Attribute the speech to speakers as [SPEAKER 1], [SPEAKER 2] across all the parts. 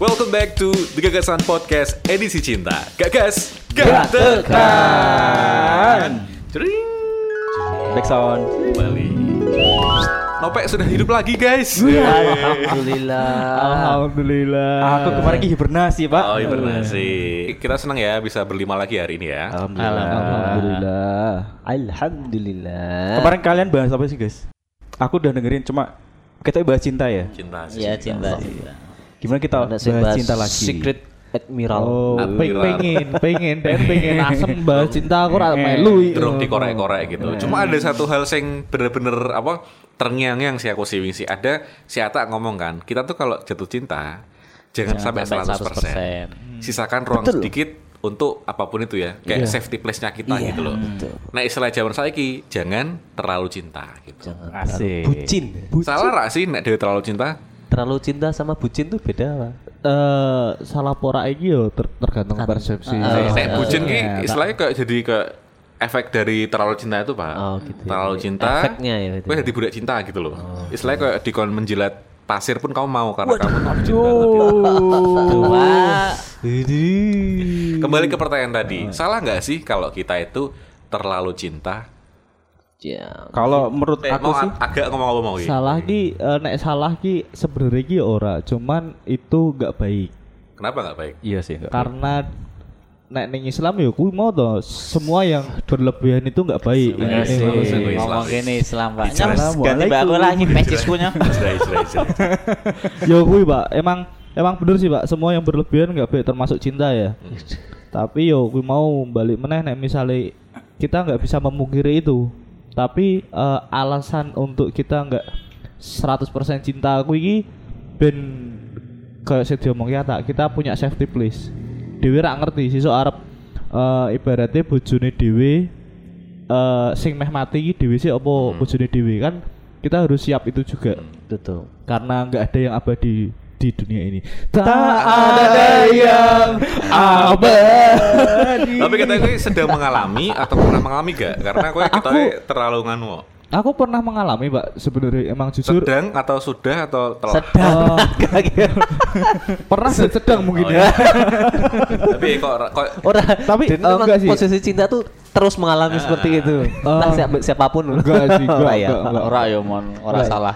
[SPEAKER 1] Welcome back to The Gagasan Podcast edisi cinta. Gagas,
[SPEAKER 2] Gak
[SPEAKER 1] tekan.
[SPEAKER 2] tekan.
[SPEAKER 1] Cering,
[SPEAKER 2] Back sound.
[SPEAKER 1] Kembali. Nopek sudah hidup lagi guys.
[SPEAKER 3] Alhamdulillah.
[SPEAKER 2] Alhamdulillah. Aku kemarin hibernasi, Pak.
[SPEAKER 1] Oh, hibernasi. Kita senang ya bisa berlima lagi hari ini ya.
[SPEAKER 2] Alhamdulillah.
[SPEAKER 3] Alhamdulillah.
[SPEAKER 2] Kemarin kalian bahas apa sih, guys? Aku udah dengerin cuma kita bahas cinta ya.
[SPEAKER 1] Cinta sih.
[SPEAKER 3] ya cinta. cinta.
[SPEAKER 2] Gimana kita bahas,
[SPEAKER 3] Ada sih, bahas
[SPEAKER 2] Nah, cinta lagi?
[SPEAKER 3] Secret Admiral.
[SPEAKER 4] Oh,
[SPEAKER 1] Admiral.
[SPEAKER 4] peng- pengen, pengen, pengen, pengen.
[SPEAKER 3] Asem bahas cinta aku rada
[SPEAKER 1] Jeruk dikorek-korek gitu. Cuma ada satu hal yang bener-bener apa terngiang-ngiang sih aku sih sih. Ada si Ata ngomong kan, kita tuh kalau jatuh cinta jangan, sampai 100%. Sisakan ruang sedikit untuk apapun itu ya.
[SPEAKER 3] Iya.
[SPEAKER 1] Kayak safety place-nya kita gitu loh. Nah, istilah zaman saiki jangan terlalu cinta gitu.
[SPEAKER 2] Asik.
[SPEAKER 3] Bucin.
[SPEAKER 1] Salah gak sih nek dhewe terlalu cinta?
[SPEAKER 3] Terlalu cinta sama bucin tuh beda lah.
[SPEAKER 4] Eh, salah pora iki yo ter- tergantung persepsi.
[SPEAKER 3] Oh,
[SPEAKER 1] Nek- Nek
[SPEAKER 4] Iya.
[SPEAKER 1] bucin ki
[SPEAKER 4] Iya, tak-
[SPEAKER 1] istilahnya kayak jadi kayak efek dari terlalu cinta itu pak
[SPEAKER 3] Oh, gitu ya.
[SPEAKER 1] terlalu cinta
[SPEAKER 3] Efeknya ya itu
[SPEAKER 1] gue
[SPEAKER 3] ya.
[SPEAKER 1] jadi budak cinta gitu loh istilahnya kayak dikon menjilat pasir pun kamu mau karena kamu terlalu cinta gitu.
[SPEAKER 3] Wah.
[SPEAKER 1] kembali ke pertanyaan tadi
[SPEAKER 3] Iya.
[SPEAKER 1] salah nggak sih kalau kita itu terlalu cinta
[SPEAKER 3] Ya.
[SPEAKER 2] Kalau menurut
[SPEAKER 1] Eh,
[SPEAKER 2] aku
[SPEAKER 1] mau
[SPEAKER 2] sih
[SPEAKER 1] a- agak ngomong apa mau gitu
[SPEAKER 4] Salah ki eh, nek salah ki sebenarnya ki ya ora, cuman itu gak baik.
[SPEAKER 1] kenapa nggak baik
[SPEAKER 2] Iya sih.
[SPEAKER 4] Karena nek ning Islam yo kuwi mau toh semua yang berlebihan itu gak baik.
[SPEAKER 1] Iya
[SPEAKER 4] Ini-
[SPEAKER 1] sih.
[SPEAKER 4] ini- ini-
[SPEAKER 1] Ngomong
[SPEAKER 3] ini Islam Pak.
[SPEAKER 1] Dijelas.
[SPEAKER 3] Ganti mbak aku lagi pecisku nya.
[SPEAKER 1] Cerai, cerai, cerai.
[SPEAKER 4] Yo kuwi, Pak. Emang emang bener sih, Pak. Semua yang berlebihan gak baik termasuk cinta ya. Tapi yo kuwi mau balik meneh nek misale kita nggak bisa memungkiri itu. Tapi eh, alasan untuk kita nggak 100% cinta aku iki ben kayak saya diomongin tak kita punya safety place. Dewi rak ngerti sesuk arep eh, ibaratnya bojone Dewi eh sing meh mati iki Dewi sih opo bojone Dewi kan kita harus siap itu juga
[SPEAKER 3] Betul.
[SPEAKER 4] karena nggak ada yang abadi di dunia ini. Tak ada yang abadi.
[SPEAKER 1] tapi katanya gue sedang mengalami atau pernah mengalami gak karena gue kita terlalu nganu
[SPEAKER 4] Aku pernah mengalami, Pak. Sebenarnya emang jujur Eh,
[SPEAKER 1] sedang atau sudah atau telah
[SPEAKER 3] Sedap.
[SPEAKER 2] gitu.
[SPEAKER 4] pernah dan sedang mungkin ya.
[SPEAKER 1] tapi kok kok
[SPEAKER 3] Orang
[SPEAKER 4] Tapi,
[SPEAKER 3] dan itu
[SPEAKER 4] eh,
[SPEAKER 3] kon-
[SPEAKER 4] enggak sih. Ah.
[SPEAKER 3] posisi cinta tuh terus mengalami seperti itu. Entah siapa, siapapun loh.
[SPEAKER 4] enggak sih, enggak,
[SPEAKER 3] Ora ya.
[SPEAKER 4] enggak, enggak.
[SPEAKER 3] Ora ya, mon, ora
[SPEAKER 4] Enggak.
[SPEAKER 3] salah.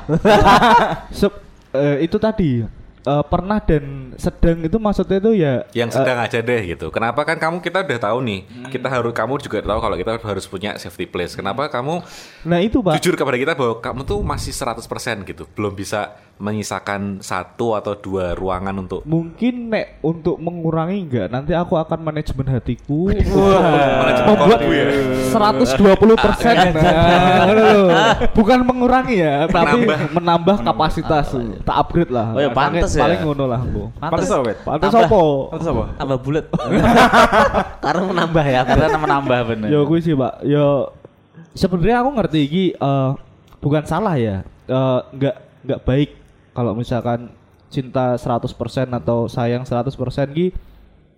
[SPEAKER 4] Sep- eh, itu tadi eh, pernah dan sedang itu maksudnya itu ya
[SPEAKER 1] yang sedang aja deh gitu. Kenapa kan kamu kita udah tahu nih, kita harus kamu juga tahu kalau kita harus punya safety place. Kenapa kamu
[SPEAKER 4] nah itu, Pak.
[SPEAKER 1] jujur kepada kita bahwa kamu tuh masih 100% gitu, belum bisa menyisakan satu atau dua ruangan untuk
[SPEAKER 4] Mungkin nek untuk mengurangi enggak nanti aku akan manajemen hatiku
[SPEAKER 1] Manajemen
[SPEAKER 4] Eh. membuat
[SPEAKER 1] waktu ya. Ah, iya.
[SPEAKER 4] 120 persen bukan mengurangi ya tapi
[SPEAKER 1] Menambah. iya.
[SPEAKER 4] menambah, kapasitas tak upgrade lah
[SPEAKER 3] Oh ya, pantes ya.
[SPEAKER 4] paling ngono lah bu
[SPEAKER 2] Pantes apa, Bet?
[SPEAKER 4] pantas
[SPEAKER 3] Tambah.
[SPEAKER 4] apa
[SPEAKER 2] Terus apa?
[SPEAKER 3] Tambah bulat. Karena menambah ya. Karena menambah
[SPEAKER 5] Nah,
[SPEAKER 3] bener.
[SPEAKER 4] ya gue sih pak ya sebenarnya aku ngerti ini eh, bukan salah ya Eh, nggak nggak baik kalau misalkan cinta 100% atau sayang 100% ki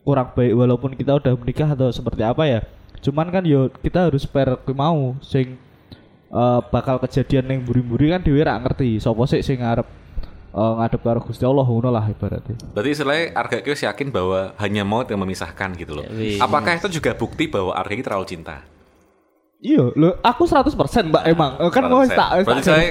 [SPEAKER 4] kurang baik walaupun kita udah menikah atau seperti apa ya cuman kan yo kita harus fair kui mau sing eh, bakal kejadian yang buri-buri kan dewe rak ngerti sopo sih sing ngarep eh, ngadep karo Gusti Allah ngono lah ibaratnya
[SPEAKER 1] Berarti istilahnya Arga Kios yakin bahwa hanya maut yang memisahkan gitu loh. Apakah itu juga bukti bahwa Arga ini terlalu cinta?
[SPEAKER 4] Iya, lo aku 100% Mbak emang. Eh, Kan mau
[SPEAKER 1] 100%.
[SPEAKER 4] tak wis
[SPEAKER 1] Berarti
[SPEAKER 4] tak-
[SPEAKER 1] saya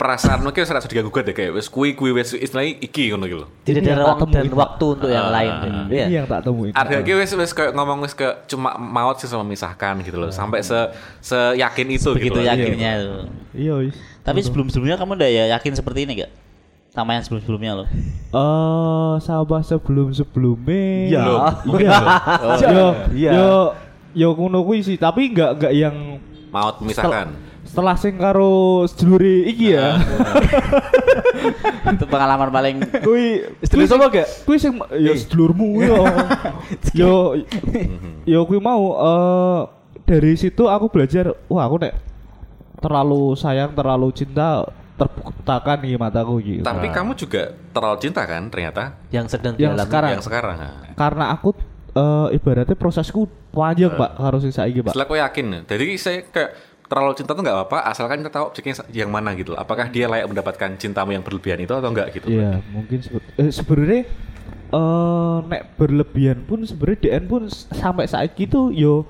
[SPEAKER 1] perasaan mungkin saya sudah gugat deh ya, kayak wes kui kui wes istilahnya iki ngono gitu loh.
[SPEAKER 4] Ini
[SPEAKER 3] Tidak
[SPEAKER 4] yang
[SPEAKER 3] ada
[SPEAKER 4] tak
[SPEAKER 3] ruang dan
[SPEAKER 4] temuin.
[SPEAKER 3] waktu untuk yang lain. Iya.
[SPEAKER 4] Ini yang tak temuin.
[SPEAKER 1] Arga ki wis wis kayak ngomong wis ke cuma maut sih sama memisahkan gitu loh. Sampai se seyakin itu gitu.
[SPEAKER 5] begitu
[SPEAKER 1] loh.
[SPEAKER 5] yakinnya itu.
[SPEAKER 4] Iya, wis.
[SPEAKER 5] Tapi sebelum-sebelumnya kamu udah ya yakin seperti ini gak? Sama yang sebelum-sebelumnya loh.
[SPEAKER 4] Eh, sama sebelum sebelumnya.
[SPEAKER 2] Iya.
[SPEAKER 1] Belum. Mungkin
[SPEAKER 4] Iya. Yo,
[SPEAKER 2] Iya.
[SPEAKER 4] yo, yo ngono kuwi sih, tapi enggak enggak yang
[SPEAKER 1] Maut memisahkan.
[SPEAKER 4] setelah sing karo sedulure iki ya.
[SPEAKER 5] Itu pengalaman paling
[SPEAKER 4] Kuwi
[SPEAKER 2] Sedulur
[SPEAKER 4] kuwi sing-
[SPEAKER 2] sapa gak?
[SPEAKER 4] Kuwi sing yo sedulurmu yo. Yo yo kuwi mau eh dari situ aku belajar, wah aku nek terlalu sayang, terlalu cinta terbutakan nih mataku gitu.
[SPEAKER 1] Tapi kamu juga terlalu cinta kan ternyata
[SPEAKER 3] Yang sedang
[SPEAKER 4] Yang
[SPEAKER 3] dialami.
[SPEAKER 4] sekarang.
[SPEAKER 1] yang sekarang. Nah,
[SPEAKER 4] Karena aku eh, ibaratnya prosesku panjang, Pak,
[SPEAKER 1] Eh.
[SPEAKER 4] harus sing saiki, Pak.
[SPEAKER 1] Setelah aku yakin, jadi saya kayak terlalu cinta tuh nggak apa-apa, asalkan kita tahu objeknya yang mana gitu. loh. Apakah dia layak mendapatkan cintamu yang berlebihan itu atau enggak gitu?
[SPEAKER 4] Iya, mungkin sebut- eh, sebenarnya eh nek berlebihan pun sebenarnya DN pun s- sampai saat itu yo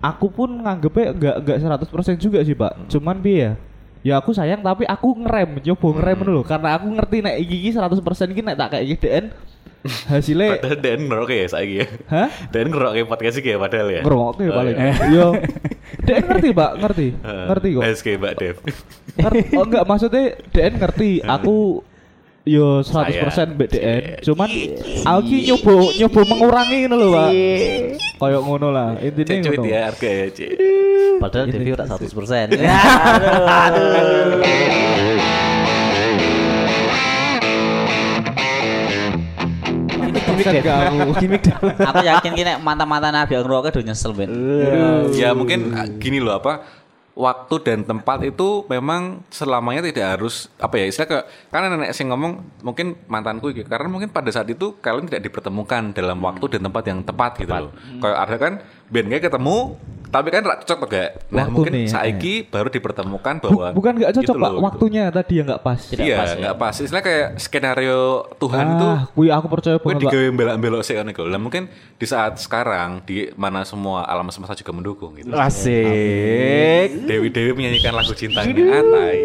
[SPEAKER 4] aku pun nganggepnya enggak enggak 100% juga sih,
[SPEAKER 1] Hmm.
[SPEAKER 4] Pak. Cuman piye ya? Ya aku sayang tapi aku ngerem, nyoba
[SPEAKER 1] Hmm.
[SPEAKER 4] ngerem dulu karena aku ngerti nek iki iki 100% iki nek tak kayak iki DN hasilnya
[SPEAKER 1] Padahal Dan ngerok ya saiki ya.
[SPEAKER 4] Hah?
[SPEAKER 1] Dan ngerok kayak podcast iki ya padahal ya.
[SPEAKER 4] ngerokok ya
[SPEAKER 1] Oh,
[SPEAKER 4] paling.
[SPEAKER 1] iya.
[SPEAKER 4] Yo. DN ngerti, Pak, ngerti.
[SPEAKER 1] Eh,
[SPEAKER 4] Ngerti kok.
[SPEAKER 1] SK Mbak Dev.
[SPEAKER 4] Ngerti- oh enggak maksudnya DN ngerti aku yo
[SPEAKER 1] Iya,
[SPEAKER 4] 100% BDN cuman aku ki nyoba nyoba mengurangi ngono lho Pak koyo ngono lah
[SPEAKER 1] Iya. Cek
[SPEAKER 4] intine
[SPEAKER 1] cuit
[SPEAKER 4] ngono
[SPEAKER 1] ya harga ya, Cek.
[SPEAKER 5] Padahal Devi
[SPEAKER 4] Iya.
[SPEAKER 5] udah 100 persen.
[SPEAKER 4] tapi kan gak aku
[SPEAKER 2] Gimik dah.
[SPEAKER 5] Aku yakin kini mantan-mantan Nabi Angro udah nyesel
[SPEAKER 2] Iya.
[SPEAKER 5] ben.
[SPEAKER 1] Ya mungkin ah, gini loh apa waktu dan tempat itu memang selamanya tidak harus apa ya istilah ke karena nenek sing ngomong mungkin mantanku iki karena mungkin pada saat itu kalian tidak dipertemukan dalam waktu dan tempat yang tepat gitu loh. Kayak ada kan ben kayak ketemu tapi kan rak cocok gak. Nah,
[SPEAKER 4] Waktu
[SPEAKER 1] mungkin
[SPEAKER 4] nih, ya.
[SPEAKER 1] saiki baru dipertemukan
[SPEAKER 4] Bu-
[SPEAKER 1] bahwa
[SPEAKER 4] bukan gak cocok
[SPEAKER 1] gitu
[SPEAKER 4] Pak
[SPEAKER 1] loh, gitu.
[SPEAKER 4] waktunya tadi yang gak pas
[SPEAKER 5] Tidak
[SPEAKER 1] iya,
[SPEAKER 5] pas, ya.
[SPEAKER 1] nggak pas. Istilah kayak skenario Tuhan itu
[SPEAKER 4] ah kuwi aku percaya
[SPEAKER 1] Gue
[SPEAKER 4] banget Pak
[SPEAKER 1] digawe belak-belok sih kan iku. Lah mungkin di saat sekarang di mana semua alam semesta juga mendukung gitu.
[SPEAKER 2] Asik.
[SPEAKER 1] Dewi-dewi menyanyikan lagu cintanya Atai.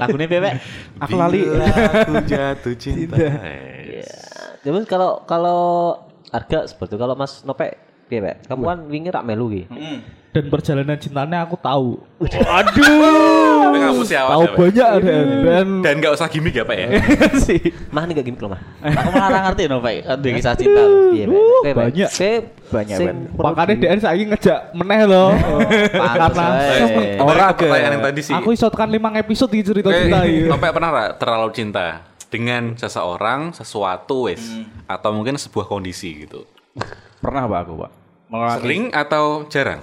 [SPEAKER 5] Lagunya bebek.
[SPEAKER 2] Aku lali.
[SPEAKER 1] Bila Aku jatuh cinta.
[SPEAKER 3] Ya, Terus kalau kalau harga seperti itu. kalau Mas Nope piye, Pak? Kamu kan wingi rak melu ki.
[SPEAKER 4] dan perjalanan cintanya aku tahu
[SPEAKER 1] Tapi kamu siapa?
[SPEAKER 4] tahu banyak
[SPEAKER 1] Iya.
[SPEAKER 4] DN dan
[SPEAKER 1] Dan nggak usah gimmick ya Pak ya.
[SPEAKER 2] Sih.
[SPEAKER 3] Mah nih gak gimmick loh, Mah.
[SPEAKER 5] Aku malah ngerti no, Pak. Ada kisah cinta. lho.
[SPEAKER 3] Piye, Iya, Pak? Piye, Pak?
[SPEAKER 4] banyak.
[SPEAKER 3] Sing-
[SPEAKER 2] Banyak,
[SPEAKER 3] sing
[SPEAKER 2] Pak.
[SPEAKER 3] perlu
[SPEAKER 4] makanya
[SPEAKER 3] di-
[SPEAKER 4] DN saiki ngejak meneh loh
[SPEAKER 5] Pantes,
[SPEAKER 4] karena
[SPEAKER 5] eh.
[SPEAKER 1] Kembali ke
[SPEAKER 2] Orang
[SPEAKER 1] pertanyaan yang tadi sih. Eh,
[SPEAKER 4] aku isotkan 5 episode di cerita
[SPEAKER 1] Oke,
[SPEAKER 4] cinta iya.
[SPEAKER 1] Sampai pernah nggak terlalu cinta dengan seseorang, sesuatu wes atau mungkin sebuah kondisi gitu.
[SPEAKER 2] Pernah pak aku pak. Melaki-
[SPEAKER 1] Sering atau jarang?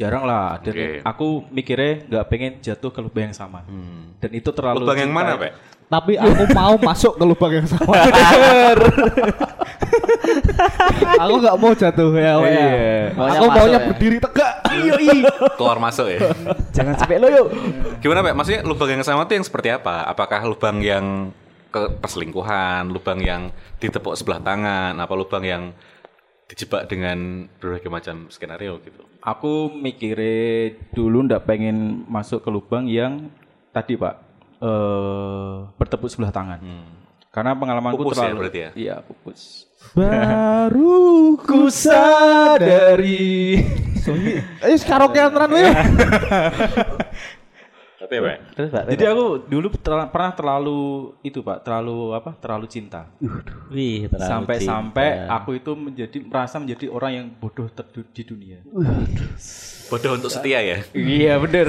[SPEAKER 2] Jarang lah. Dan
[SPEAKER 1] Oke.
[SPEAKER 2] aku mikirnya nggak pengen jatuh ke lubang yang sama.
[SPEAKER 3] Hmm.
[SPEAKER 2] Dan itu terlalu.
[SPEAKER 1] Lubang yang
[SPEAKER 2] cinta. iya.
[SPEAKER 1] mana Pak?
[SPEAKER 4] tapi aku mau masuk ke lubang yang sama. aku nggak mau jatuh ya.
[SPEAKER 2] Oh,
[SPEAKER 4] Wea.
[SPEAKER 2] iya.
[SPEAKER 5] Maunya
[SPEAKER 4] aku
[SPEAKER 5] masuk
[SPEAKER 4] maunya
[SPEAKER 5] ya.
[SPEAKER 4] berdiri tegak. Iya, iya.
[SPEAKER 1] Keluar masuk ya.
[SPEAKER 2] Jangan sampai lo yuk.
[SPEAKER 1] Gimana Pak? Maksudnya lubang yang sama itu yang seperti apa? Apakah lubang yang ke perselingkuhan, lubang yang ditepuk sebelah tangan, apa lubang yang dijebak dengan berbagai macam skenario gitu?
[SPEAKER 2] Aku mikirnya dulu ndak pengen masuk ke lubang yang tadi pak eh bertepuk sebelah tangan. Karena pengalamanku
[SPEAKER 1] Hmm. Pupus ya,
[SPEAKER 2] terlalu.
[SPEAKER 1] berarti ya?
[SPEAKER 2] Iya pupus.
[SPEAKER 4] Baru ku sadari. Eh, karaokean tenan weh.
[SPEAKER 1] Tapi ya Pak?
[SPEAKER 5] Terus, Pak.
[SPEAKER 2] Jadi aku dulu terla- pernah terlalu itu pak, terlalu apa? Terlalu cinta.
[SPEAKER 5] Wih, terlalu
[SPEAKER 2] Sampai-sampai
[SPEAKER 5] cinta. ya.
[SPEAKER 2] aku itu menjadi merasa menjadi orang yang bodoh terdu- di dunia.
[SPEAKER 1] Bodoh untuk setia ya?
[SPEAKER 2] Iya bener.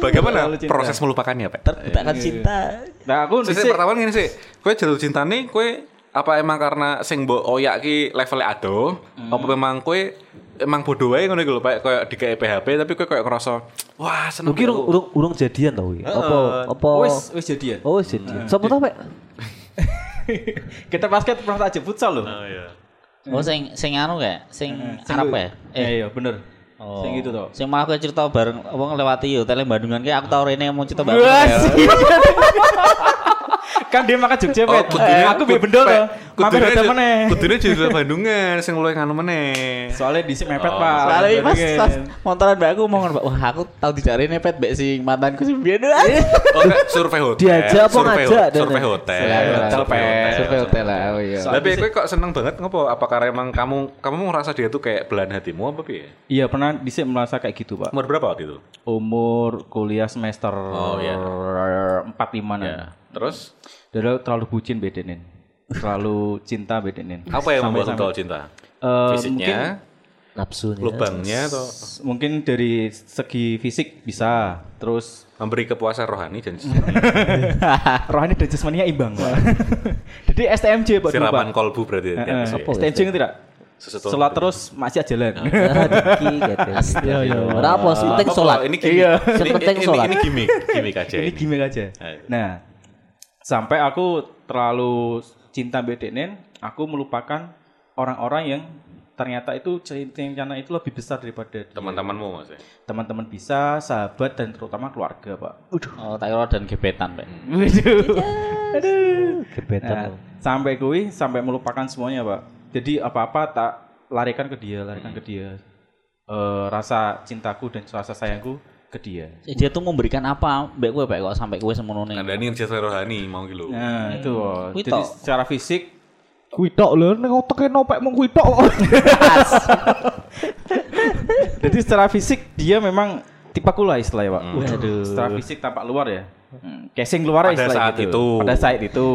[SPEAKER 1] Bagaimana
[SPEAKER 2] Terlalu cinta.
[SPEAKER 1] proses melupakannya Pak?
[SPEAKER 5] terbutakan cinta.
[SPEAKER 2] nah aku
[SPEAKER 1] Sisi
[SPEAKER 2] dhisik-
[SPEAKER 1] pertama gini sih, kue jatuh cinta nih, kue apa emang karena sing mbok oyak ki levelnya ado,
[SPEAKER 2] Hmm.
[SPEAKER 1] apa memang kue emang bodoh aja ngono gitu loh, Pak, kayak di PHP tapi kue kayak ngerasa, wah seneng
[SPEAKER 3] Mungkin urung
[SPEAKER 1] aku."
[SPEAKER 3] urung urung jadian tau iki. Apa
[SPEAKER 1] Eh.
[SPEAKER 3] apa
[SPEAKER 2] Wes wes jadian.
[SPEAKER 3] Oh, wis jadian. Sopo tau, Pak?
[SPEAKER 2] Kita basket pernah tak aja futsal loh.
[SPEAKER 1] Oh, iya.
[SPEAKER 5] Oh, sing sing anu kayak sing Arab ya?
[SPEAKER 2] Eh iya bener. Oh. Sing
[SPEAKER 1] gitu
[SPEAKER 2] itu toh.
[SPEAKER 5] Sing malah aku cerita bareng wong lewati yo tele Bandungan ki aku tau rene mau cerita bareng. Ya.
[SPEAKER 2] kan dia makan Jogja,
[SPEAKER 1] Oh,
[SPEAKER 2] Pet. Eh, aku mbek bendol
[SPEAKER 1] ya.
[SPEAKER 2] toh. Mampir ada meneh.
[SPEAKER 1] Kudune jadi Bandungan sing luwih anu meneh.
[SPEAKER 2] Soalnya dhisik mepet,
[SPEAKER 1] Oh.
[SPEAKER 2] Pak.
[SPEAKER 5] Soalnya ini pas,
[SPEAKER 2] Bandungin.
[SPEAKER 5] pas montoran mbakku mau ngono, Mbak. Wah, aku tau dicari nih pet mbak si mantanku sih biyen.
[SPEAKER 2] Iya.
[SPEAKER 5] Survei
[SPEAKER 1] Oh, enggak, survei hotel.
[SPEAKER 3] Diajak apa
[SPEAKER 1] Survei
[SPEAKER 3] ngajak,
[SPEAKER 1] hotel, Survei
[SPEAKER 3] Dene?
[SPEAKER 1] hotel.
[SPEAKER 2] Hotel,
[SPEAKER 1] survei
[SPEAKER 2] Pet.
[SPEAKER 5] hotel lah. Oh iya.
[SPEAKER 2] Soalnya
[SPEAKER 1] Tapi
[SPEAKER 2] dhisik-
[SPEAKER 1] kue kok seneng banget ngopo? Apa karena emang kamu kamu ngerasa dia tuh kayak belahan hatimu apa piye?
[SPEAKER 2] Iya, pernah dhisik merasa kayak gitu, Pak.
[SPEAKER 1] Umur berapa waktu itu?
[SPEAKER 2] Umur kuliah semester
[SPEAKER 1] Oh, iya.
[SPEAKER 2] 4 5
[SPEAKER 1] Ya. Terus
[SPEAKER 2] Dulu terlalu bucin bedenin. Terlalu cinta bedenin.
[SPEAKER 1] apa yang membuat kamu cinta?
[SPEAKER 2] Eh,
[SPEAKER 1] Fisiknya,
[SPEAKER 3] Nafsu nih.
[SPEAKER 1] lubangnya atau
[SPEAKER 2] Mungkin dari segi fisik bisa, terus
[SPEAKER 1] memberi kepuasan rohani dan Ah.
[SPEAKER 2] rohani dan jasmaninya imbang. Pak. Jadi STMJ Pak Eh, dulu, Pak.
[SPEAKER 1] siraman kolbu berarti. ya,
[SPEAKER 2] Heeh,
[SPEAKER 1] sih.
[SPEAKER 2] STMJ ngerti tidak?
[SPEAKER 1] Sesuatu- Ah.
[SPEAKER 2] Sholat terus masih jalan.
[SPEAKER 3] Iya, iya. Ora apa sih penting
[SPEAKER 1] Apa,
[SPEAKER 3] salat.
[SPEAKER 1] Ini gimmick.
[SPEAKER 2] Iya.
[SPEAKER 1] Ini-
[SPEAKER 3] Sepenting
[SPEAKER 1] ini-
[SPEAKER 3] sholat.
[SPEAKER 1] Ini gimmick, gimmick aja.
[SPEAKER 2] Ini
[SPEAKER 1] ini.
[SPEAKER 2] gimmick aja.
[SPEAKER 1] Ayo.
[SPEAKER 2] Nah, sampai aku terlalu cinta BDNN, aku melupakan orang-orang yang ternyata itu rencana itu lebih besar daripada dia.
[SPEAKER 1] Teman-temanmu maksudnya.
[SPEAKER 2] teman-teman bisa, sahabat dan terutama keluarga, Pak.
[SPEAKER 5] Oh, tak kira dan gebetan, Pak. Iya,
[SPEAKER 2] Nah,
[SPEAKER 3] Iya. Gebetan.
[SPEAKER 2] sampai kui sampai melupakan semuanya, Pak. Jadi apa-apa tak larikan ke dia, larikan ke dia. Eh, rasa cintaku dan rasa sayangku ke dia.
[SPEAKER 5] Eh, Dia tuh memberikan apa mbak gue, Pak, kok sampai gue semono
[SPEAKER 1] Nah,
[SPEAKER 5] nih.
[SPEAKER 1] Dani ngerjain rohani mau gitu.
[SPEAKER 2] Nah, itu. Pak.
[SPEAKER 5] Kui
[SPEAKER 2] Jadi
[SPEAKER 5] tok.
[SPEAKER 2] secara fisik
[SPEAKER 4] Kuwi tok lho, ning oteke nopek mung kuwi tok.
[SPEAKER 2] Jadi secara fisik dia memang tipaku lah istilahnya
[SPEAKER 1] Hmm.
[SPEAKER 2] pak. Secara fisik tampak luar ya. Hmm, Casing luar
[SPEAKER 1] Pada
[SPEAKER 2] istilahnya
[SPEAKER 1] saat
[SPEAKER 2] gitu.
[SPEAKER 1] itu. Hmm.
[SPEAKER 2] Pada saat itu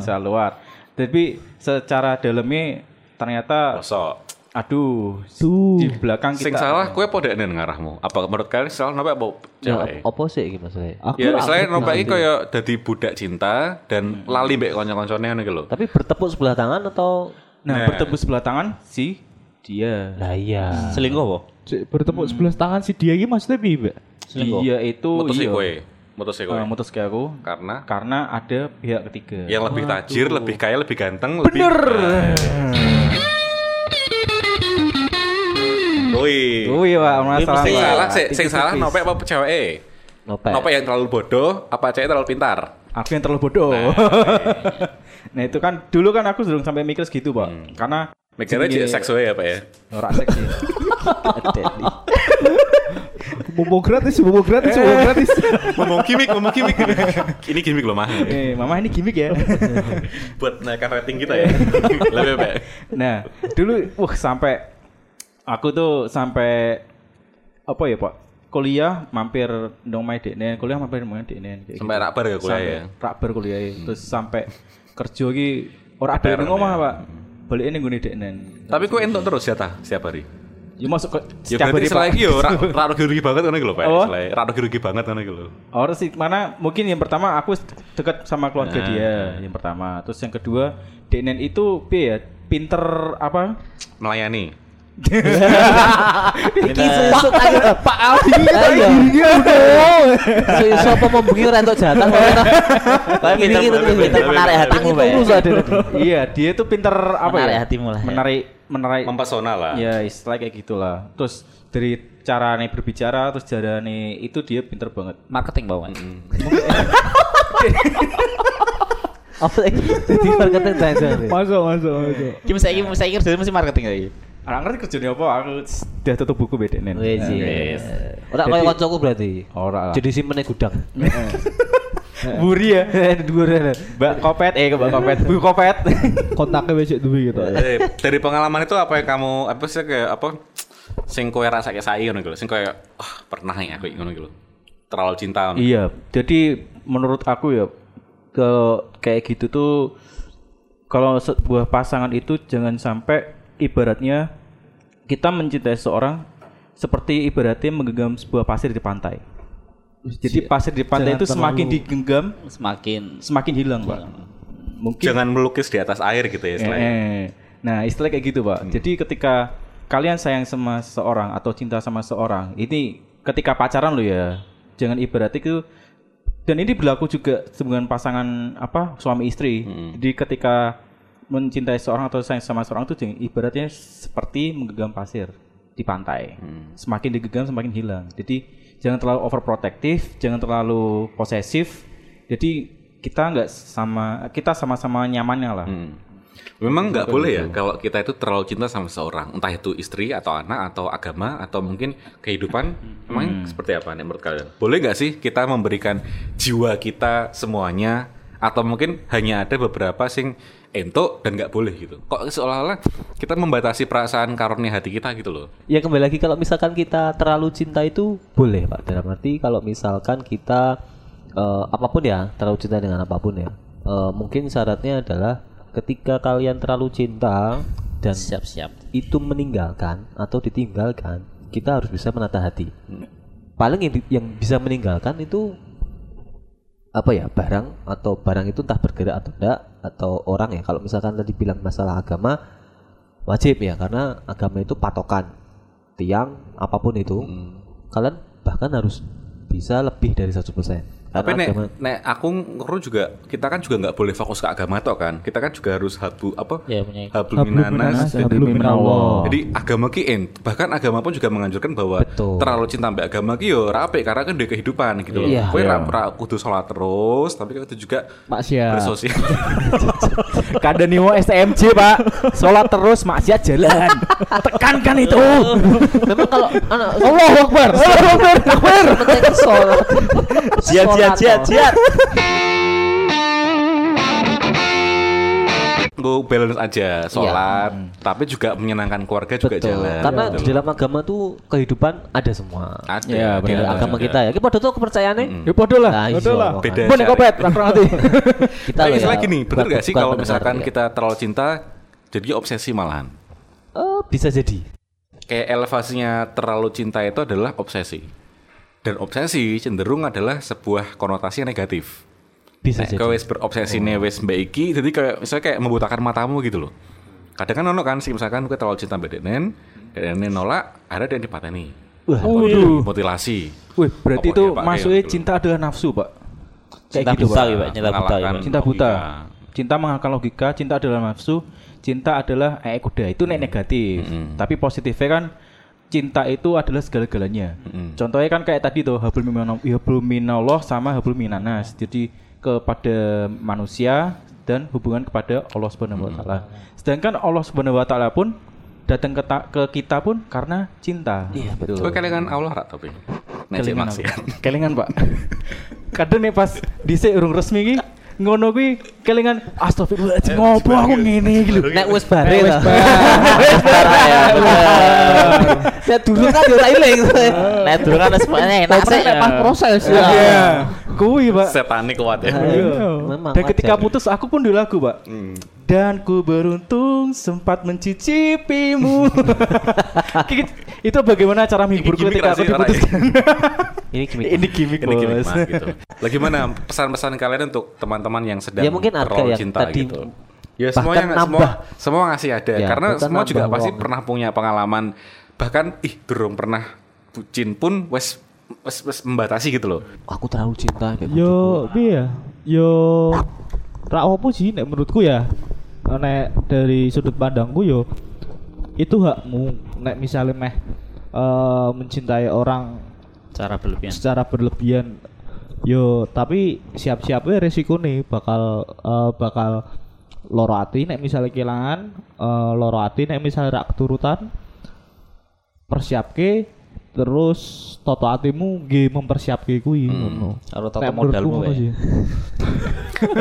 [SPEAKER 2] secara luar. Tapi secara dalamnya ternyata
[SPEAKER 1] Kosok.
[SPEAKER 2] aduh
[SPEAKER 4] Duh.
[SPEAKER 2] di belakang kita.
[SPEAKER 1] Sing salah kue podo nen ngarahmu. Apa menurut kalian salah nopek apa cewek?
[SPEAKER 3] Ya, apa sih iki maksudnya?
[SPEAKER 4] Aku
[SPEAKER 1] Ya,
[SPEAKER 4] ra
[SPEAKER 1] selain
[SPEAKER 4] ngerti.
[SPEAKER 1] nopeki kaya dadi budak cinta dan lali mbek kanca-kancane ngono iki lho.
[SPEAKER 3] Tapi bertepuk sebelah tangan atau
[SPEAKER 2] Nah,
[SPEAKER 1] Nah.
[SPEAKER 2] bertemu sebelah tangan si dia.
[SPEAKER 3] Lah iya.
[SPEAKER 5] Selingkuh, Pak.
[SPEAKER 4] Cek, bertepuk sebelah tangan si dia iki maksudnya piye, Mbak?
[SPEAKER 5] Selingkuh.
[SPEAKER 2] Dia itu
[SPEAKER 1] Mutusi
[SPEAKER 2] iya,
[SPEAKER 1] kowe. Mutusi kowe.
[SPEAKER 2] eh, mutus ke aku
[SPEAKER 1] Karena
[SPEAKER 2] karena ada pihak ketiga.
[SPEAKER 1] yang lebih tajir, lebih kaya, lebih ganteng, lebih Nah.
[SPEAKER 2] Bener.
[SPEAKER 1] Woi.
[SPEAKER 2] Oh iya pak, masalah.
[SPEAKER 1] Sing
[SPEAKER 2] Pak.
[SPEAKER 1] salah sih, sing
[SPEAKER 2] Tipis-tipis.
[SPEAKER 1] salah nopek apa cewek?
[SPEAKER 3] Nopek.
[SPEAKER 1] Nopek yang terlalu bodoh, apa cewek terlalu pintar?
[SPEAKER 2] aku yang terlalu bodoh.
[SPEAKER 1] iya.
[SPEAKER 2] Nah, itu kan dulu kan aku belum sampai mikir segitu, Pak. Karena
[SPEAKER 1] Mikirnya
[SPEAKER 2] jenenge-
[SPEAKER 1] cek Hmm. seks wae ya, Pak ya.
[SPEAKER 2] ora seks sih.
[SPEAKER 4] Bobo gratis, bobo
[SPEAKER 2] Eh,
[SPEAKER 4] gratis, bobo gratis.
[SPEAKER 1] Ngomong gimmick, ngomong gimmick. Ini gimmick loh, mah.
[SPEAKER 2] Eh, mama ini gimmick ya.
[SPEAKER 1] Buat naikkan rating kita ya. Lebih baik.
[SPEAKER 2] nah, dulu wah sampai aku tuh sampai apa ya, Pak? Kuliah mampir dong main deknen, kuliah mampir main deknen kayak gitu.
[SPEAKER 1] Sampai rakbar ya kuliah
[SPEAKER 2] Sampai
[SPEAKER 1] ya?
[SPEAKER 2] Rakbar kuliah ya. Terus sampai kerja ki ora ada yang ngomah,
[SPEAKER 1] ya?
[SPEAKER 2] Pak. Balik ini gue deknen.
[SPEAKER 1] Tapi kue entuk terus ya ta setiap hari.
[SPEAKER 2] Ya masuk ke
[SPEAKER 1] Ya berarti
[SPEAKER 2] Pak.
[SPEAKER 1] selain yo ra ra rugi-rugi banget ngono iki lho, Pak.
[SPEAKER 2] Apa?
[SPEAKER 1] Selain ra rugi-rugi banget ngono iki lho.
[SPEAKER 2] Orang sih mana mungkin yang pertama aku dekat sama keluarga
[SPEAKER 5] Nah.
[SPEAKER 2] dia yang pertama. Terus yang kedua Denen itu piye ya pinter apa?
[SPEAKER 1] Melayani.
[SPEAKER 3] Iki
[SPEAKER 5] Nah.
[SPEAKER 3] sesuk ayo Pak Aldi ayo. Sesuk apa membengi ora entuk
[SPEAKER 5] Iya.
[SPEAKER 3] jatah. Kayak
[SPEAKER 5] Tapi pinter- pinter menarik hatimu, Pak. ya.
[SPEAKER 2] iya dia itu pinter apa
[SPEAKER 5] Menarik
[SPEAKER 2] ya?
[SPEAKER 5] hatimu lah, ya.
[SPEAKER 2] Menarik menarik
[SPEAKER 1] Mempesona lah.
[SPEAKER 2] ya istilah kayak gitulah. Terus dari cara nih berbicara terus cara nih itu dia pinter banget.
[SPEAKER 5] Marketing bawaan.
[SPEAKER 3] Apa iki? Jadi marketing dancer.
[SPEAKER 4] Masuk, masuk, masuk.
[SPEAKER 5] Kim saya kim saya kira mesti marketing ya, lagi.
[SPEAKER 2] Orang ngerti kerjanya apa? Aku sudah tutup buku beda Nen.
[SPEAKER 3] Wis.
[SPEAKER 5] Nah, Wis.
[SPEAKER 3] Ora kaya kancaku berarti.
[SPEAKER 2] gitu. Ora lah.
[SPEAKER 3] Jadi simene gudang.
[SPEAKER 2] buri ya. Mbak Kopet eh Mbak Kopet. Bu Kopet.
[SPEAKER 4] Kontaknya wis duwe gitu. ya.
[SPEAKER 1] Eh, dari pengalaman itu apa yang kamu apa sih kayak apa sing kowe rasa kayak saya ngono iki lho. Sing kowe ah pernah ya aku ngono iki lho. Terlalu cinta. ngono.
[SPEAKER 2] Iya, jadi menurut aku ya ke kayak gitu tuh kalau sebuah pasangan itu jangan sampai ibaratnya kita mencintai seorang seperti ibaratnya menggenggam sebuah pasir di pantai. Jadi pasir di pantai
[SPEAKER 4] jangan
[SPEAKER 2] itu semakin
[SPEAKER 4] terlalu- Iya.
[SPEAKER 2] digenggam
[SPEAKER 5] Semakin
[SPEAKER 2] semakin hilang, Pak. Mungkin
[SPEAKER 1] Jangan melukis di atas air gitu ya istilahnya.
[SPEAKER 2] Eh, Nah, istilah kayak gitu, Pak. Jadi ketika kalian sayang sama seorang atau cinta sama seorang, ini ketika pacaran lo ya. Jangan ibarat itu dan ini berlaku juga hubungan pasangan apa suami istri. Jadi ketika mencintai seorang atau sayang sama seorang itu jangan- ibaratnya seperti menggenggam pasir di pantai. Semakin digenggam semakin hilang. Jadi jangan terlalu overprotective, jangan terlalu posesif. Jadi kita nggak sama kita sama-sama nyamannya
[SPEAKER 1] Hmm.
[SPEAKER 2] lah.
[SPEAKER 1] Memang nggak boleh ya kalau kita itu terlalu cinta sama seorang, entah itu istri atau anak atau agama atau mungkin kehidupan. Emang seperti apa nih menurut kalian? Boleh nggak sih kita memberikan jiwa kita semuanya atau mungkin hanya ada beberapa sing entuk dan nggak boleh gitu? Kok seolah-olah kita membatasi perasaan karunia hati kita gitu loh?
[SPEAKER 3] Ya kembali lagi kalau misalkan kita terlalu cinta itu boleh Pak. Dalam arti kalau misalkan kita eh, apapun ya, terlalu cinta dengan apapun ya. Eh, mungkin syaratnya adalah ketika kalian terlalu cinta dan
[SPEAKER 5] siap-siap.
[SPEAKER 3] itu meninggalkan atau ditinggalkan, kita harus bisa menata hati. Paling yang, di- yang bisa meninggalkan itu apa ya barang atau barang itu entah bergerak atau enggak atau orang ya kalau misalkan tadi bilang masalah agama wajib ya karena agama itu patokan
[SPEAKER 1] Hmm.
[SPEAKER 3] tiang apapun itu kalian bahkan harus bisa lebih dari 100%
[SPEAKER 1] Tapi
[SPEAKER 3] Karena
[SPEAKER 1] nek,
[SPEAKER 3] agama-
[SPEAKER 1] nek aku ngeru juga kita kan juga nggak boleh fokus ke agama toh kan. Kita kan juga harus habu apa?
[SPEAKER 5] Ya, punya-
[SPEAKER 1] hablum minanas.
[SPEAKER 4] dan
[SPEAKER 1] Jadi-
[SPEAKER 4] hablum minallah.
[SPEAKER 3] Oh.
[SPEAKER 1] Jadi agama ki en- bahkan agama pun juga menganjurkan bahwa
[SPEAKER 3] Betul.
[SPEAKER 1] terlalu cinta sampai agama ki yo ora apik karena kan dia kehidupan gitu loh.
[SPEAKER 3] Iya.
[SPEAKER 1] Kowe ra ra kudu sholat terus, tapi kudu juga
[SPEAKER 2] Maksiat.
[SPEAKER 1] bersosial.
[SPEAKER 2] Kadeniwo STMJ, Pak. Sholat terus maksiat jalan. Tekankan itu.
[SPEAKER 3] Memang kalau anak
[SPEAKER 2] Allah Akbar. Allah Akbar.
[SPEAKER 3] penting sholat.
[SPEAKER 5] Jiat, jiat, jiat, jiat.
[SPEAKER 1] Gue balance aja sholat, tapi juga menyenangkan keluarga juga
[SPEAKER 3] Iya. Betul.
[SPEAKER 1] jalan.
[SPEAKER 3] Karena
[SPEAKER 1] Gitu
[SPEAKER 3] di
[SPEAKER 1] loh.
[SPEAKER 3] dalam agama tuh kehidupan ada semua.
[SPEAKER 1] ada
[SPEAKER 2] Iya,
[SPEAKER 1] di
[SPEAKER 2] benar.
[SPEAKER 3] Dari
[SPEAKER 1] dalam
[SPEAKER 3] agama kita ya. Kita padha tuh kepercayaannya.
[SPEAKER 2] Ya podo lah.
[SPEAKER 3] Nah,
[SPEAKER 4] betul
[SPEAKER 3] iya,
[SPEAKER 4] lah.
[SPEAKER 3] makanya.
[SPEAKER 1] Beda.
[SPEAKER 2] Bon kopet, rakron nanti.
[SPEAKER 3] Kita
[SPEAKER 1] Tapi
[SPEAKER 3] loh ya,
[SPEAKER 1] istilah gini, bener
[SPEAKER 3] bukan-
[SPEAKER 1] gak sih
[SPEAKER 3] bukan
[SPEAKER 1] kalau
[SPEAKER 3] pendengar,
[SPEAKER 1] misalkan
[SPEAKER 3] ya.
[SPEAKER 1] kita terlalu cinta jadi obsesi malahan?
[SPEAKER 3] Eh, bisa jadi.
[SPEAKER 1] Kayak elevasinya terlalu cinta itu adalah obsesi. Dan obsesi cenderung adalah sebuah konotasi negatif.
[SPEAKER 3] Bisa
[SPEAKER 1] Nek
[SPEAKER 3] jadi. Oh.
[SPEAKER 1] kowe wis berobsesi nih wis mbak iki, jadi kayak misalnya kayak membutakan matamu gitu loh. Kadang kan ono kan sih misalkan kowe terlalu cinta mbak Denen, Denen nolak, ada yang dipateni.
[SPEAKER 3] Wah,
[SPEAKER 2] Waduh.
[SPEAKER 1] Mutilasi.
[SPEAKER 2] Wih, berarti
[SPEAKER 1] Apa
[SPEAKER 2] itu
[SPEAKER 1] dia pakai
[SPEAKER 2] masuknya
[SPEAKER 1] gitu?
[SPEAKER 2] cinta adalah nafsu, Pak. Kayak
[SPEAKER 5] Cinta
[SPEAKER 2] gitu,
[SPEAKER 5] buta,
[SPEAKER 2] Pak.
[SPEAKER 5] ya, Pak. Cinta buta, ya,
[SPEAKER 1] Mengalahkan
[SPEAKER 5] Pak.
[SPEAKER 2] Cinta
[SPEAKER 1] logika.
[SPEAKER 2] buta. Cinta mengalahkan logika, cinta adalah nafsu, cinta adalah ee kuda. Itu
[SPEAKER 1] Hmm.
[SPEAKER 2] nek negatif. Tapi positifnya kan cinta itu adalah segala-galanya.
[SPEAKER 1] Hmm.
[SPEAKER 2] Contohnya kan kayak tadi tuh hablum minallah, hablum minallah sama hablum minanas. Jadi kepada manusia dan hubungan kepada Allah Subhanahu wa
[SPEAKER 1] Hmm.
[SPEAKER 2] taala. Sedangkan Allah Subhanahu wa taala pun datang ke, ta- ke kita pun karena cinta. Iya, betul.
[SPEAKER 1] Kowe kelingan Allah rak tapi. Nek ya. sik
[SPEAKER 2] Kelingan
[SPEAKER 1] maksiat.
[SPEAKER 2] aku. Kelingan, Pak. Kadang nih pas dhisik urung resmi iki ngono kuwi kelingan
[SPEAKER 3] Eh,
[SPEAKER 2] astagfirullahaladzim ngopo aku ngene iki lho.
[SPEAKER 3] Nek wis bare
[SPEAKER 2] Iya,
[SPEAKER 3] lah.
[SPEAKER 2] Saya dulu kan yo tak iling.
[SPEAKER 5] Nah, dulu kan semuanya enak sih.
[SPEAKER 2] pas proses ya. Iya. Kuwi, Pak. Iya.
[SPEAKER 1] Setani kuat ya.
[SPEAKER 3] Memang
[SPEAKER 2] Dan ketika
[SPEAKER 3] wajar.
[SPEAKER 2] putus aku pun dulu lagu, Pak. Dan ku beruntung sempat mencicipimu. Ki- Itu bagaimana cara menghiburku
[SPEAKER 1] gimmick
[SPEAKER 2] ketika aku
[SPEAKER 1] rasanya, Rai.
[SPEAKER 2] diputus?
[SPEAKER 3] ini gimmick.
[SPEAKER 2] Ini gimmick,
[SPEAKER 1] Ini gimmick
[SPEAKER 2] bos.
[SPEAKER 1] mas gitu. Lah gimana pesan-pesan kalian untuk teman-teman yang sedang
[SPEAKER 3] Ya, mungkin Arga
[SPEAKER 1] terlalu
[SPEAKER 3] yang
[SPEAKER 1] cinta
[SPEAKER 3] tadi
[SPEAKER 1] gitu? Ya
[SPEAKER 3] bahkan
[SPEAKER 1] semuanya semua
[SPEAKER 3] nambah.
[SPEAKER 1] semua ngasih ada
[SPEAKER 3] Ya,
[SPEAKER 1] karena
[SPEAKER 3] bahkan
[SPEAKER 1] semua juga
[SPEAKER 3] nambah
[SPEAKER 1] pasti
[SPEAKER 3] uang.
[SPEAKER 1] pernah punya pengalaman bahkan ih durung pernah bucin pun wes wes wes membatasi gitu loh.
[SPEAKER 3] aku terlalu cinta kayak
[SPEAKER 2] Iya.
[SPEAKER 4] Yo, piye? ya? Yo ra opo sih nek menurutku ya. Nek dari sudut pandangku yo itu hakmu nek misalnya meh eh, mencintai orang
[SPEAKER 5] Cara berlebihan.
[SPEAKER 4] secara berlebihan yo tapi siap-siap we resiko nih bakal eh, bakal loro ati nek misalnya kehilangan eh, loro ati nek misalnya rak keturutan persiapke terus toto atimu nggih mempersiapke kuwi ngono
[SPEAKER 5] Karo toto
[SPEAKER 4] Nek
[SPEAKER 5] modalmu
[SPEAKER 3] ya.
[SPEAKER 4] menurutku ngono
[SPEAKER 5] wae.
[SPEAKER 4] sih.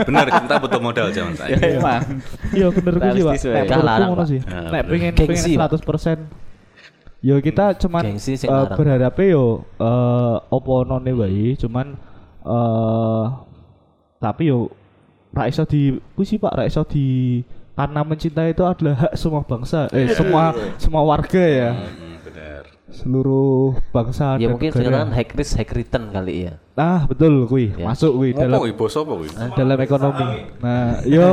[SPEAKER 1] Benar cinta butuh modal zaman saya.
[SPEAKER 5] Emang.
[SPEAKER 4] Iya bener gue sih pak
[SPEAKER 5] Realistis,
[SPEAKER 4] Nek
[SPEAKER 3] Pak.
[SPEAKER 4] menurutku
[SPEAKER 3] Larang,
[SPEAKER 4] ngono
[SPEAKER 3] Pak.
[SPEAKER 4] sih
[SPEAKER 1] Nah,
[SPEAKER 4] Nek
[SPEAKER 1] bener.
[SPEAKER 4] pengen
[SPEAKER 3] Gengsi, Pak.
[SPEAKER 4] pengen 100% Yo kita cuman
[SPEAKER 3] Gengsi sing
[SPEAKER 4] eh,
[SPEAKER 3] larang.
[SPEAKER 4] berharapnya yo eh, opo none wae cuman eh tapi yo ra iso di ku sih Pak ra iso di karena mencintai itu adalah hak semua bangsa eh semua semua warga ya
[SPEAKER 1] Hmm, benar.
[SPEAKER 4] seluruh bangsa
[SPEAKER 3] ya
[SPEAKER 4] dan
[SPEAKER 3] mungkin
[SPEAKER 4] negara.
[SPEAKER 3] sekarang high risk high return kali ya
[SPEAKER 4] nah betul kui masuk
[SPEAKER 3] Iya,
[SPEAKER 4] kui
[SPEAKER 1] Ngopo
[SPEAKER 4] dalam
[SPEAKER 1] kuwi bos apa kuwi?
[SPEAKER 4] dalam ekonomi nah yo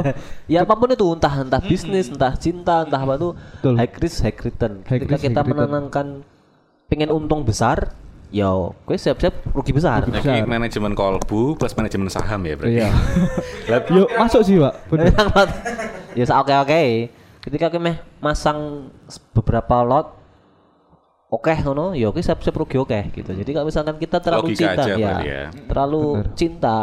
[SPEAKER 3] ya apapun itu entah entah bisnis entah cinta entah apa itu
[SPEAKER 4] Betul.
[SPEAKER 3] high risk high return
[SPEAKER 4] High
[SPEAKER 3] ketika
[SPEAKER 4] risk,
[SPEAKER 3] kita
[SPEAKER 4] high return.
[SPEAKER 3] menanamkan pengen untung besar ya gue siap-siap rugi besar
[SPEAKER 1] Ini manajemen kolbu plus manajemen saham ya berarti.
[SPEAKER 4] iya yo masuk sih Pak bener
[SPEAKER 3] Bener banget. ya oke oke ketika kita meh masang s- beberapa lot oke ngono ya oke siap siap rugi oke gitu jadi kalau misalkan kita terlalu
[SPEAKER 1] Logika aja
[SPEAKER 3] cinta ya,
[SPEAKER 1] berarti ya.
[SPEAKER 3] terlalu cinta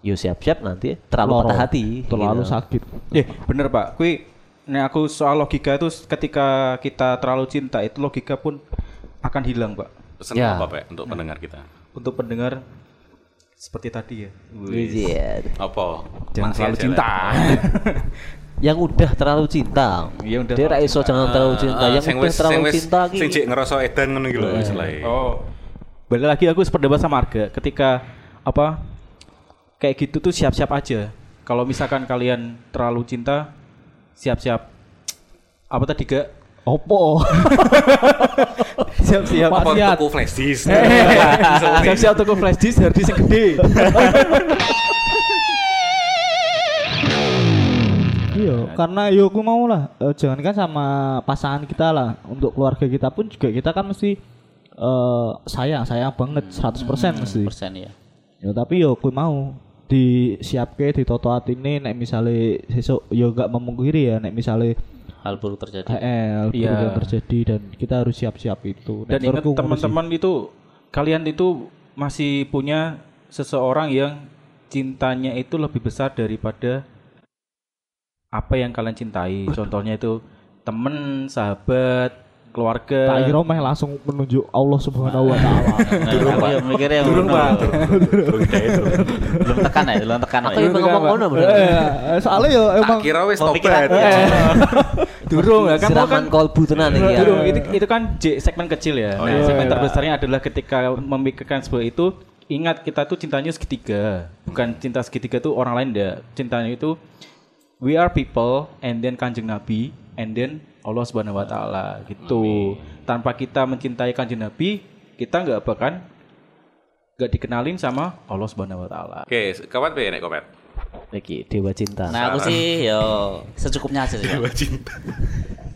[SPEAKER 3] yo siap siap nanti terlalu patah hati
[SPEAKER 4] Oh, terlalu
[SPEAKER 3] gitu.
[SPEAKER 4] sakit
[SPEAKER 2] Eh, bener Pak. Kui, nek aku soal logika itu ketika kita terlalu cinta itu logika pun akan hilang Pak.
[SPEAKER 1] Pesan
[SPEAKER 3] Ya.
[SPEAKER 1] apa Pak untuk pendengar kita?
[SPEAKER 2] Untuk pendengar seperti tadi ya.
[SPEAKER 3] Iya.
[SPEAKER 1] Apa?
[SPEAKER 2] Jangan
[SPEAKER 1] Masih
[SPEAKER 2] selalu
[SPEAKER 1] aja
[SPEAKER 2] cinta.
[SPEAKER 1] lah.
[SPEAKER 3] yang udah terlalu cinta
[SPEAKER 2] Iya, udah
[SPEAKER 3] dia ra
[SPEAKER 2] terlalu
[SPEAKER 3] iso jangan terlalu cinta yang
[SPEAKER 1] Ah, Eh, sing
[SPEAKER 3] udah
[SPEAKER 1] wis-
[SPEAKER 3] terlalu
[SPEAKER 1] sing wis-
[SPEAKER 3] cinta ki
[SPEAKER 1] Sing cek ngerasa edan ngono iki lho istilahnya.
[SPEAKER 2] oh. Balik lagi aku sependapat sama Arga ketika apa kayak gitu tuh siap-siap aja. Kalau misalkan kalian terlalu cinta siap-siap apa tadi gak?
[SPEAKER 4] Opo?
[SPEAKER 2] Siap-siap
[SPEAKER 1] Apa
[SPEAKER 4] Maksiat.
[SPEAKER 1] tuku flash disk?
[SPEAKER 5] Eh,
[SPEAKER 2] siap-siap tuku flash disk harus segede.
[SPEAKER 4] Iya, karena yo aku mau lah. eh, jangankan sama pasangan kita lah, untuk keluarga kita pun juga kita kan mesti eh sayang, sayang banget 100% mesti.
[SPEAKER 5] Persen ya.
[SPEAKER 4] Ya tapi yo kui mau disiapke ditoto atine nek misale sesuk yo gak memungkiri ya nek misale
[SPEAKER 5] Hal buruk terjadi.
[SPEAKER 4] HL
[SPEAKER 2] Iya.
[SPEAKER 4] yang terjadi dan kita harus siap-siap itu.
[SPEAKER 2] Dan ingat
[SPEAKER 4] Nek menurutku ngono sih.
[SPEAKER 2] teman-teman itu kalian itu masih punya seseorang yang cintanya itu lebih besar daripada apa yang kalian cintai. Contohnya itu temen, sahabat,
[SPEAKER 4] tak
[SPEAKER 2] keluarga.
[SPEAKER 4] kira meh langsung menunjuk Allah Subhanahu wa taala.
[SPEAKER 5] Nah, aku yang mikirnya
[SPEAKER 1] Turun,
[SPEAKER 5] ngono.
[SPEAKER 1] Pak. Turun, Dai, turun.
[SPEAKER 5] Belum tekan ya, belum tekan.
[SPEAKER 3] Aku
[SPEAKER 5] ya.
[SPEAKER 3] yang ngomong ngono bener.
[SPEAKER 4] Eh, soalnya ya
[SPEAKER 1] Tak
[SPEAKER 4] emang
[SPEAKER 1] kira wis
[SPEAKER 5] Mau pikir
[SPEAKER 1] tobat. Eh.
[SPEAKER 5] aku ya.
[SPEAKER 2] Durung ya, kamu kan
[SPEAKER 3] Siraman kolbu tenan
[SPEAKER 4] Iya.
[SPEAKER 3] iki ya.
[SPEAKER 2] Durung, itu, itu kan J, segmen kecil ya.
[SPEAKER 4] Oh,
[SPEAKER 2] Nah, segmen terbesarnya adalah ketika memikirkan sebuah itu, ingat kita tuh cintanya segitiga, bukan cinta segitiga tuh orang lain enggak. Cintanya itu we are people and then Kanjeng Nabi and then Allah Subhanahu wa taala gitu. Tanpa kita mencintai Kanjeng Nabi, kita nggak bahkan nggak dikenalin sama Allah Subhanahu wa taala.
[SPEAKER 1] Oke, kapan piye nek komen?
[SPEAKER 3] Iki dewa cinta.
[SPEAKER 5] Nah, aku sih yo secukupnya aja sih. Pak.
[SPEAKER 1] Cinta.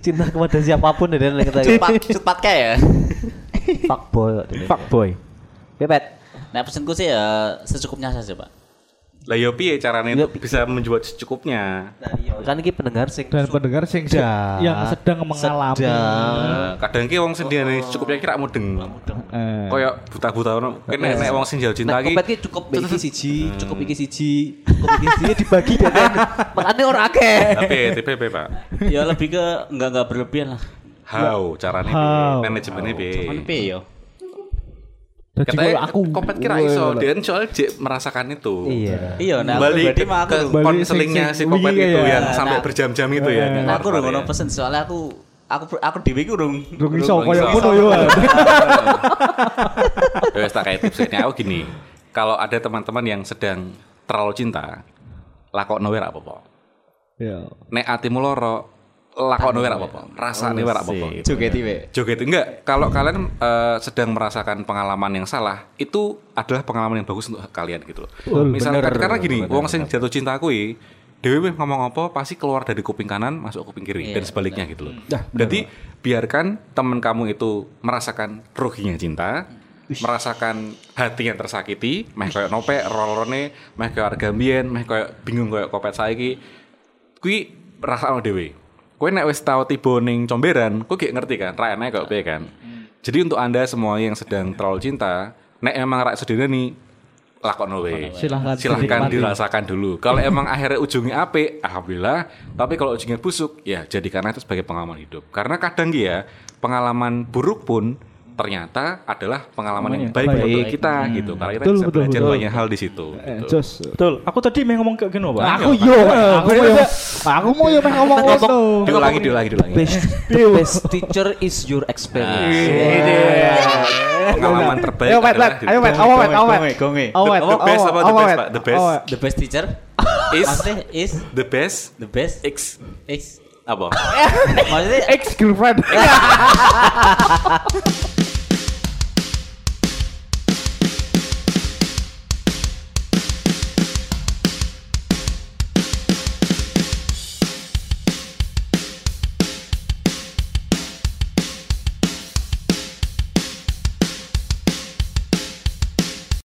[SPEAKER 3] cinta kepada siapapun ya dan kita
[SPEAKER 5] Cepat, cepat kayak ya.
[SPEAKER 3] fuck boy.
[SPEAKER 2] boy.
[SPEAKER 3] Bebet.
[SPEAKER 5] Nah, pesanku sih ya secukupnya saja, Pak.
[SPEAKER 1] Lah yo piye carane bisa menjual secukupnya?
[SPEAKER 3] Kan iki pendengar sing
[SPEAKER 4] dan pendengar sing yang sedang mengalami
[SPEAKER 1] Nah, kadang ki wong sendiri secukupnya kira Oh. mudeng.
[SPEAKER 4] Eh,
[SPEAKER 1] Kayak buta-buta ono. Kene nek wong sing jauh cinta Hmm.
[SPEAKER 3] Nah,
[SPEAKER 1] ki
[SPEAKER 3] kompet ki cukup iki siji, cukup iki siji, cukup iki siji dibagi ya kan. Makane ora akeh.
[SPEAKER 1] tapi TPP Pak.
[SPEAKER 5] Ya lebih ke enggak enggak berlebihan lah.
[SPEAKER 1] How carane piye?
[SPEAKER 4] How?
[SPEAKER 1] Manajemennya piye?
[SPEAKER 5] Cuman piye yo?
[SPEAKER 4] jadi kalau
[SPEAKER 1] Katanya
[SPEAKER 4] aku
[SPEAKER 1] kompet kira iso, dan soalnya jek merasakan itu.
[SPEAKER 3] Iya.
[SPEAKER 5] Iya, nah aku
[SPEAKER 1] Balik
[SPEAKER 5] pribadi
[SPEAKER 1] ke
[SPEAKER 5] mah aku
[SPEAKER 4] Balik
[SPEAKER 1] konselingnya si
[SPEAKER 4] sing- sing
[SPEAKER 1] kompet
[SPEAKER 4] wingi
[SPEAKER 1] itu
[SPEAKER 4] ya.
[SPEAKER 1] yang
[SPEAKER 5] Nah,
[SPEAKER 1] sampai
[SPEAKER 5] nah.
[SPEAKER 1] berjam-jam itu ya. di
[SPEAKER 5] nah, aku udah
[SPEAKER 1] luar
[SPEAKER 5] ngono
[SPEAKER 1] ya.
[SPEAKER 5] pesen soalnya aku aku aku dhewe iku urung
[SPEAKER 4] Rung iso
[SPEAKER 1] Rung
[SPEAKER 4] koyo
[SPEAKER 1] iso.
[SPEAKER 4] ngono yo.
[SPEAKER 1] Ya wis tak kayak tips ini aku gini. Kalau ada teman-teman yang sedang terlalu cinta, lakokno wae ra apa-apa.
[SPEAKER 4] Ya.
[SPEAKER 1] Nek atimu loro, lakokno wae ra apa-apa. Rasane wae ra apa-apa.
[SPEAKER 5] joget iki.
[SPEAKER 1] Joget enggak. Kalau kalian eh, sedang merasakan pengalaman yang salah, itu adalah pengalaman yang bagus untuk kalian gitu loh. Misalnya karena gini, wong sing jatuh cinta kui, Dewi weh ngomong apa pasti keluar dari kuping kanan masuk kuping kiri dan sebaliknya gitu loh. Jadi biarkan teman kamu itu merasakan ruginya cinta, merasakan hati yang tersakiti, meh kayak nope, rolone, meh kayak harga mbiyen, meh kayak bingung kayak kopet saiki. Kui rasakno dhewe. Kowe nek wis tau tiba ning comberan, kowe gak ngerti kan, ra enak kok piye kan. Jadi untuk Anda semua yang sedang terlalu cinta, nek emang rak sedene nih lakokno wae.
[SPEAKER 4] Silahkan
[SPEAKER 1] Silahkan
[SPEAKER 4] dinikmati.
[SPEAKER 1] dirasakan dulu. Kalau emang akhirnya ujungnya apik, alhamdulillah. Tapi kalau ujungnya busuk, ya jadikanlah itu sebagai pengalaman hidup. Karena kadang ki ya, pengalaman buruk pun ternyata adalah pengalaman yang baik untuk kita gitu. Karena kita
[SPEAKER 4] Hmm. Betul,
[SPEAKER 1] bisa
[SPEAKER 4] betul,
[SPEAKER 1] belajar
[SPEAKER 4] betul.
[SPEAKER 1] banyak hal di situ.
[SPEAKER 4] Eh,
[SPEAKER 1] gitu.
[SPEAKER 4] jos.
[SPEAKER 2] Betul. Aku tadi mau ngomong ke Geno, Pak.
[SPEAKER 4] Nah, Aku yo, aku yo. Aku mau yo meh ngomong ngono.
[SPEAKER 1] Diulangi, diulangi, diulangi. Iya.
[SPEAKER 3] Best, the best teacher is your experience.
[SPEAKER 1] Pengalaman terbaik
[SPEAKER 4] Iya. Ayo wet,
[SPEAKER 1] adalah
[SPEAKER 4] wet. Ayo
[SPEAKER 2] Iya,
[SPEAKER 4] wet, awet, awet, awet. Awet,
[SPEAKER 1] The best apa the best, Pak? The best.
[SPEAKER 5] The best teacher
[SPEAKER 1] Is
[SPEAKER 5] maksudnya is
[SPEAKER 1] the best
[SPEAKER 5] the best
[SPEAKER 1] X
[SPEAKER 5] is
[SPEAKER 1] apa?
[SPEAKER 5] maksudnya
[SPEAKER 4] Ex girlfriend.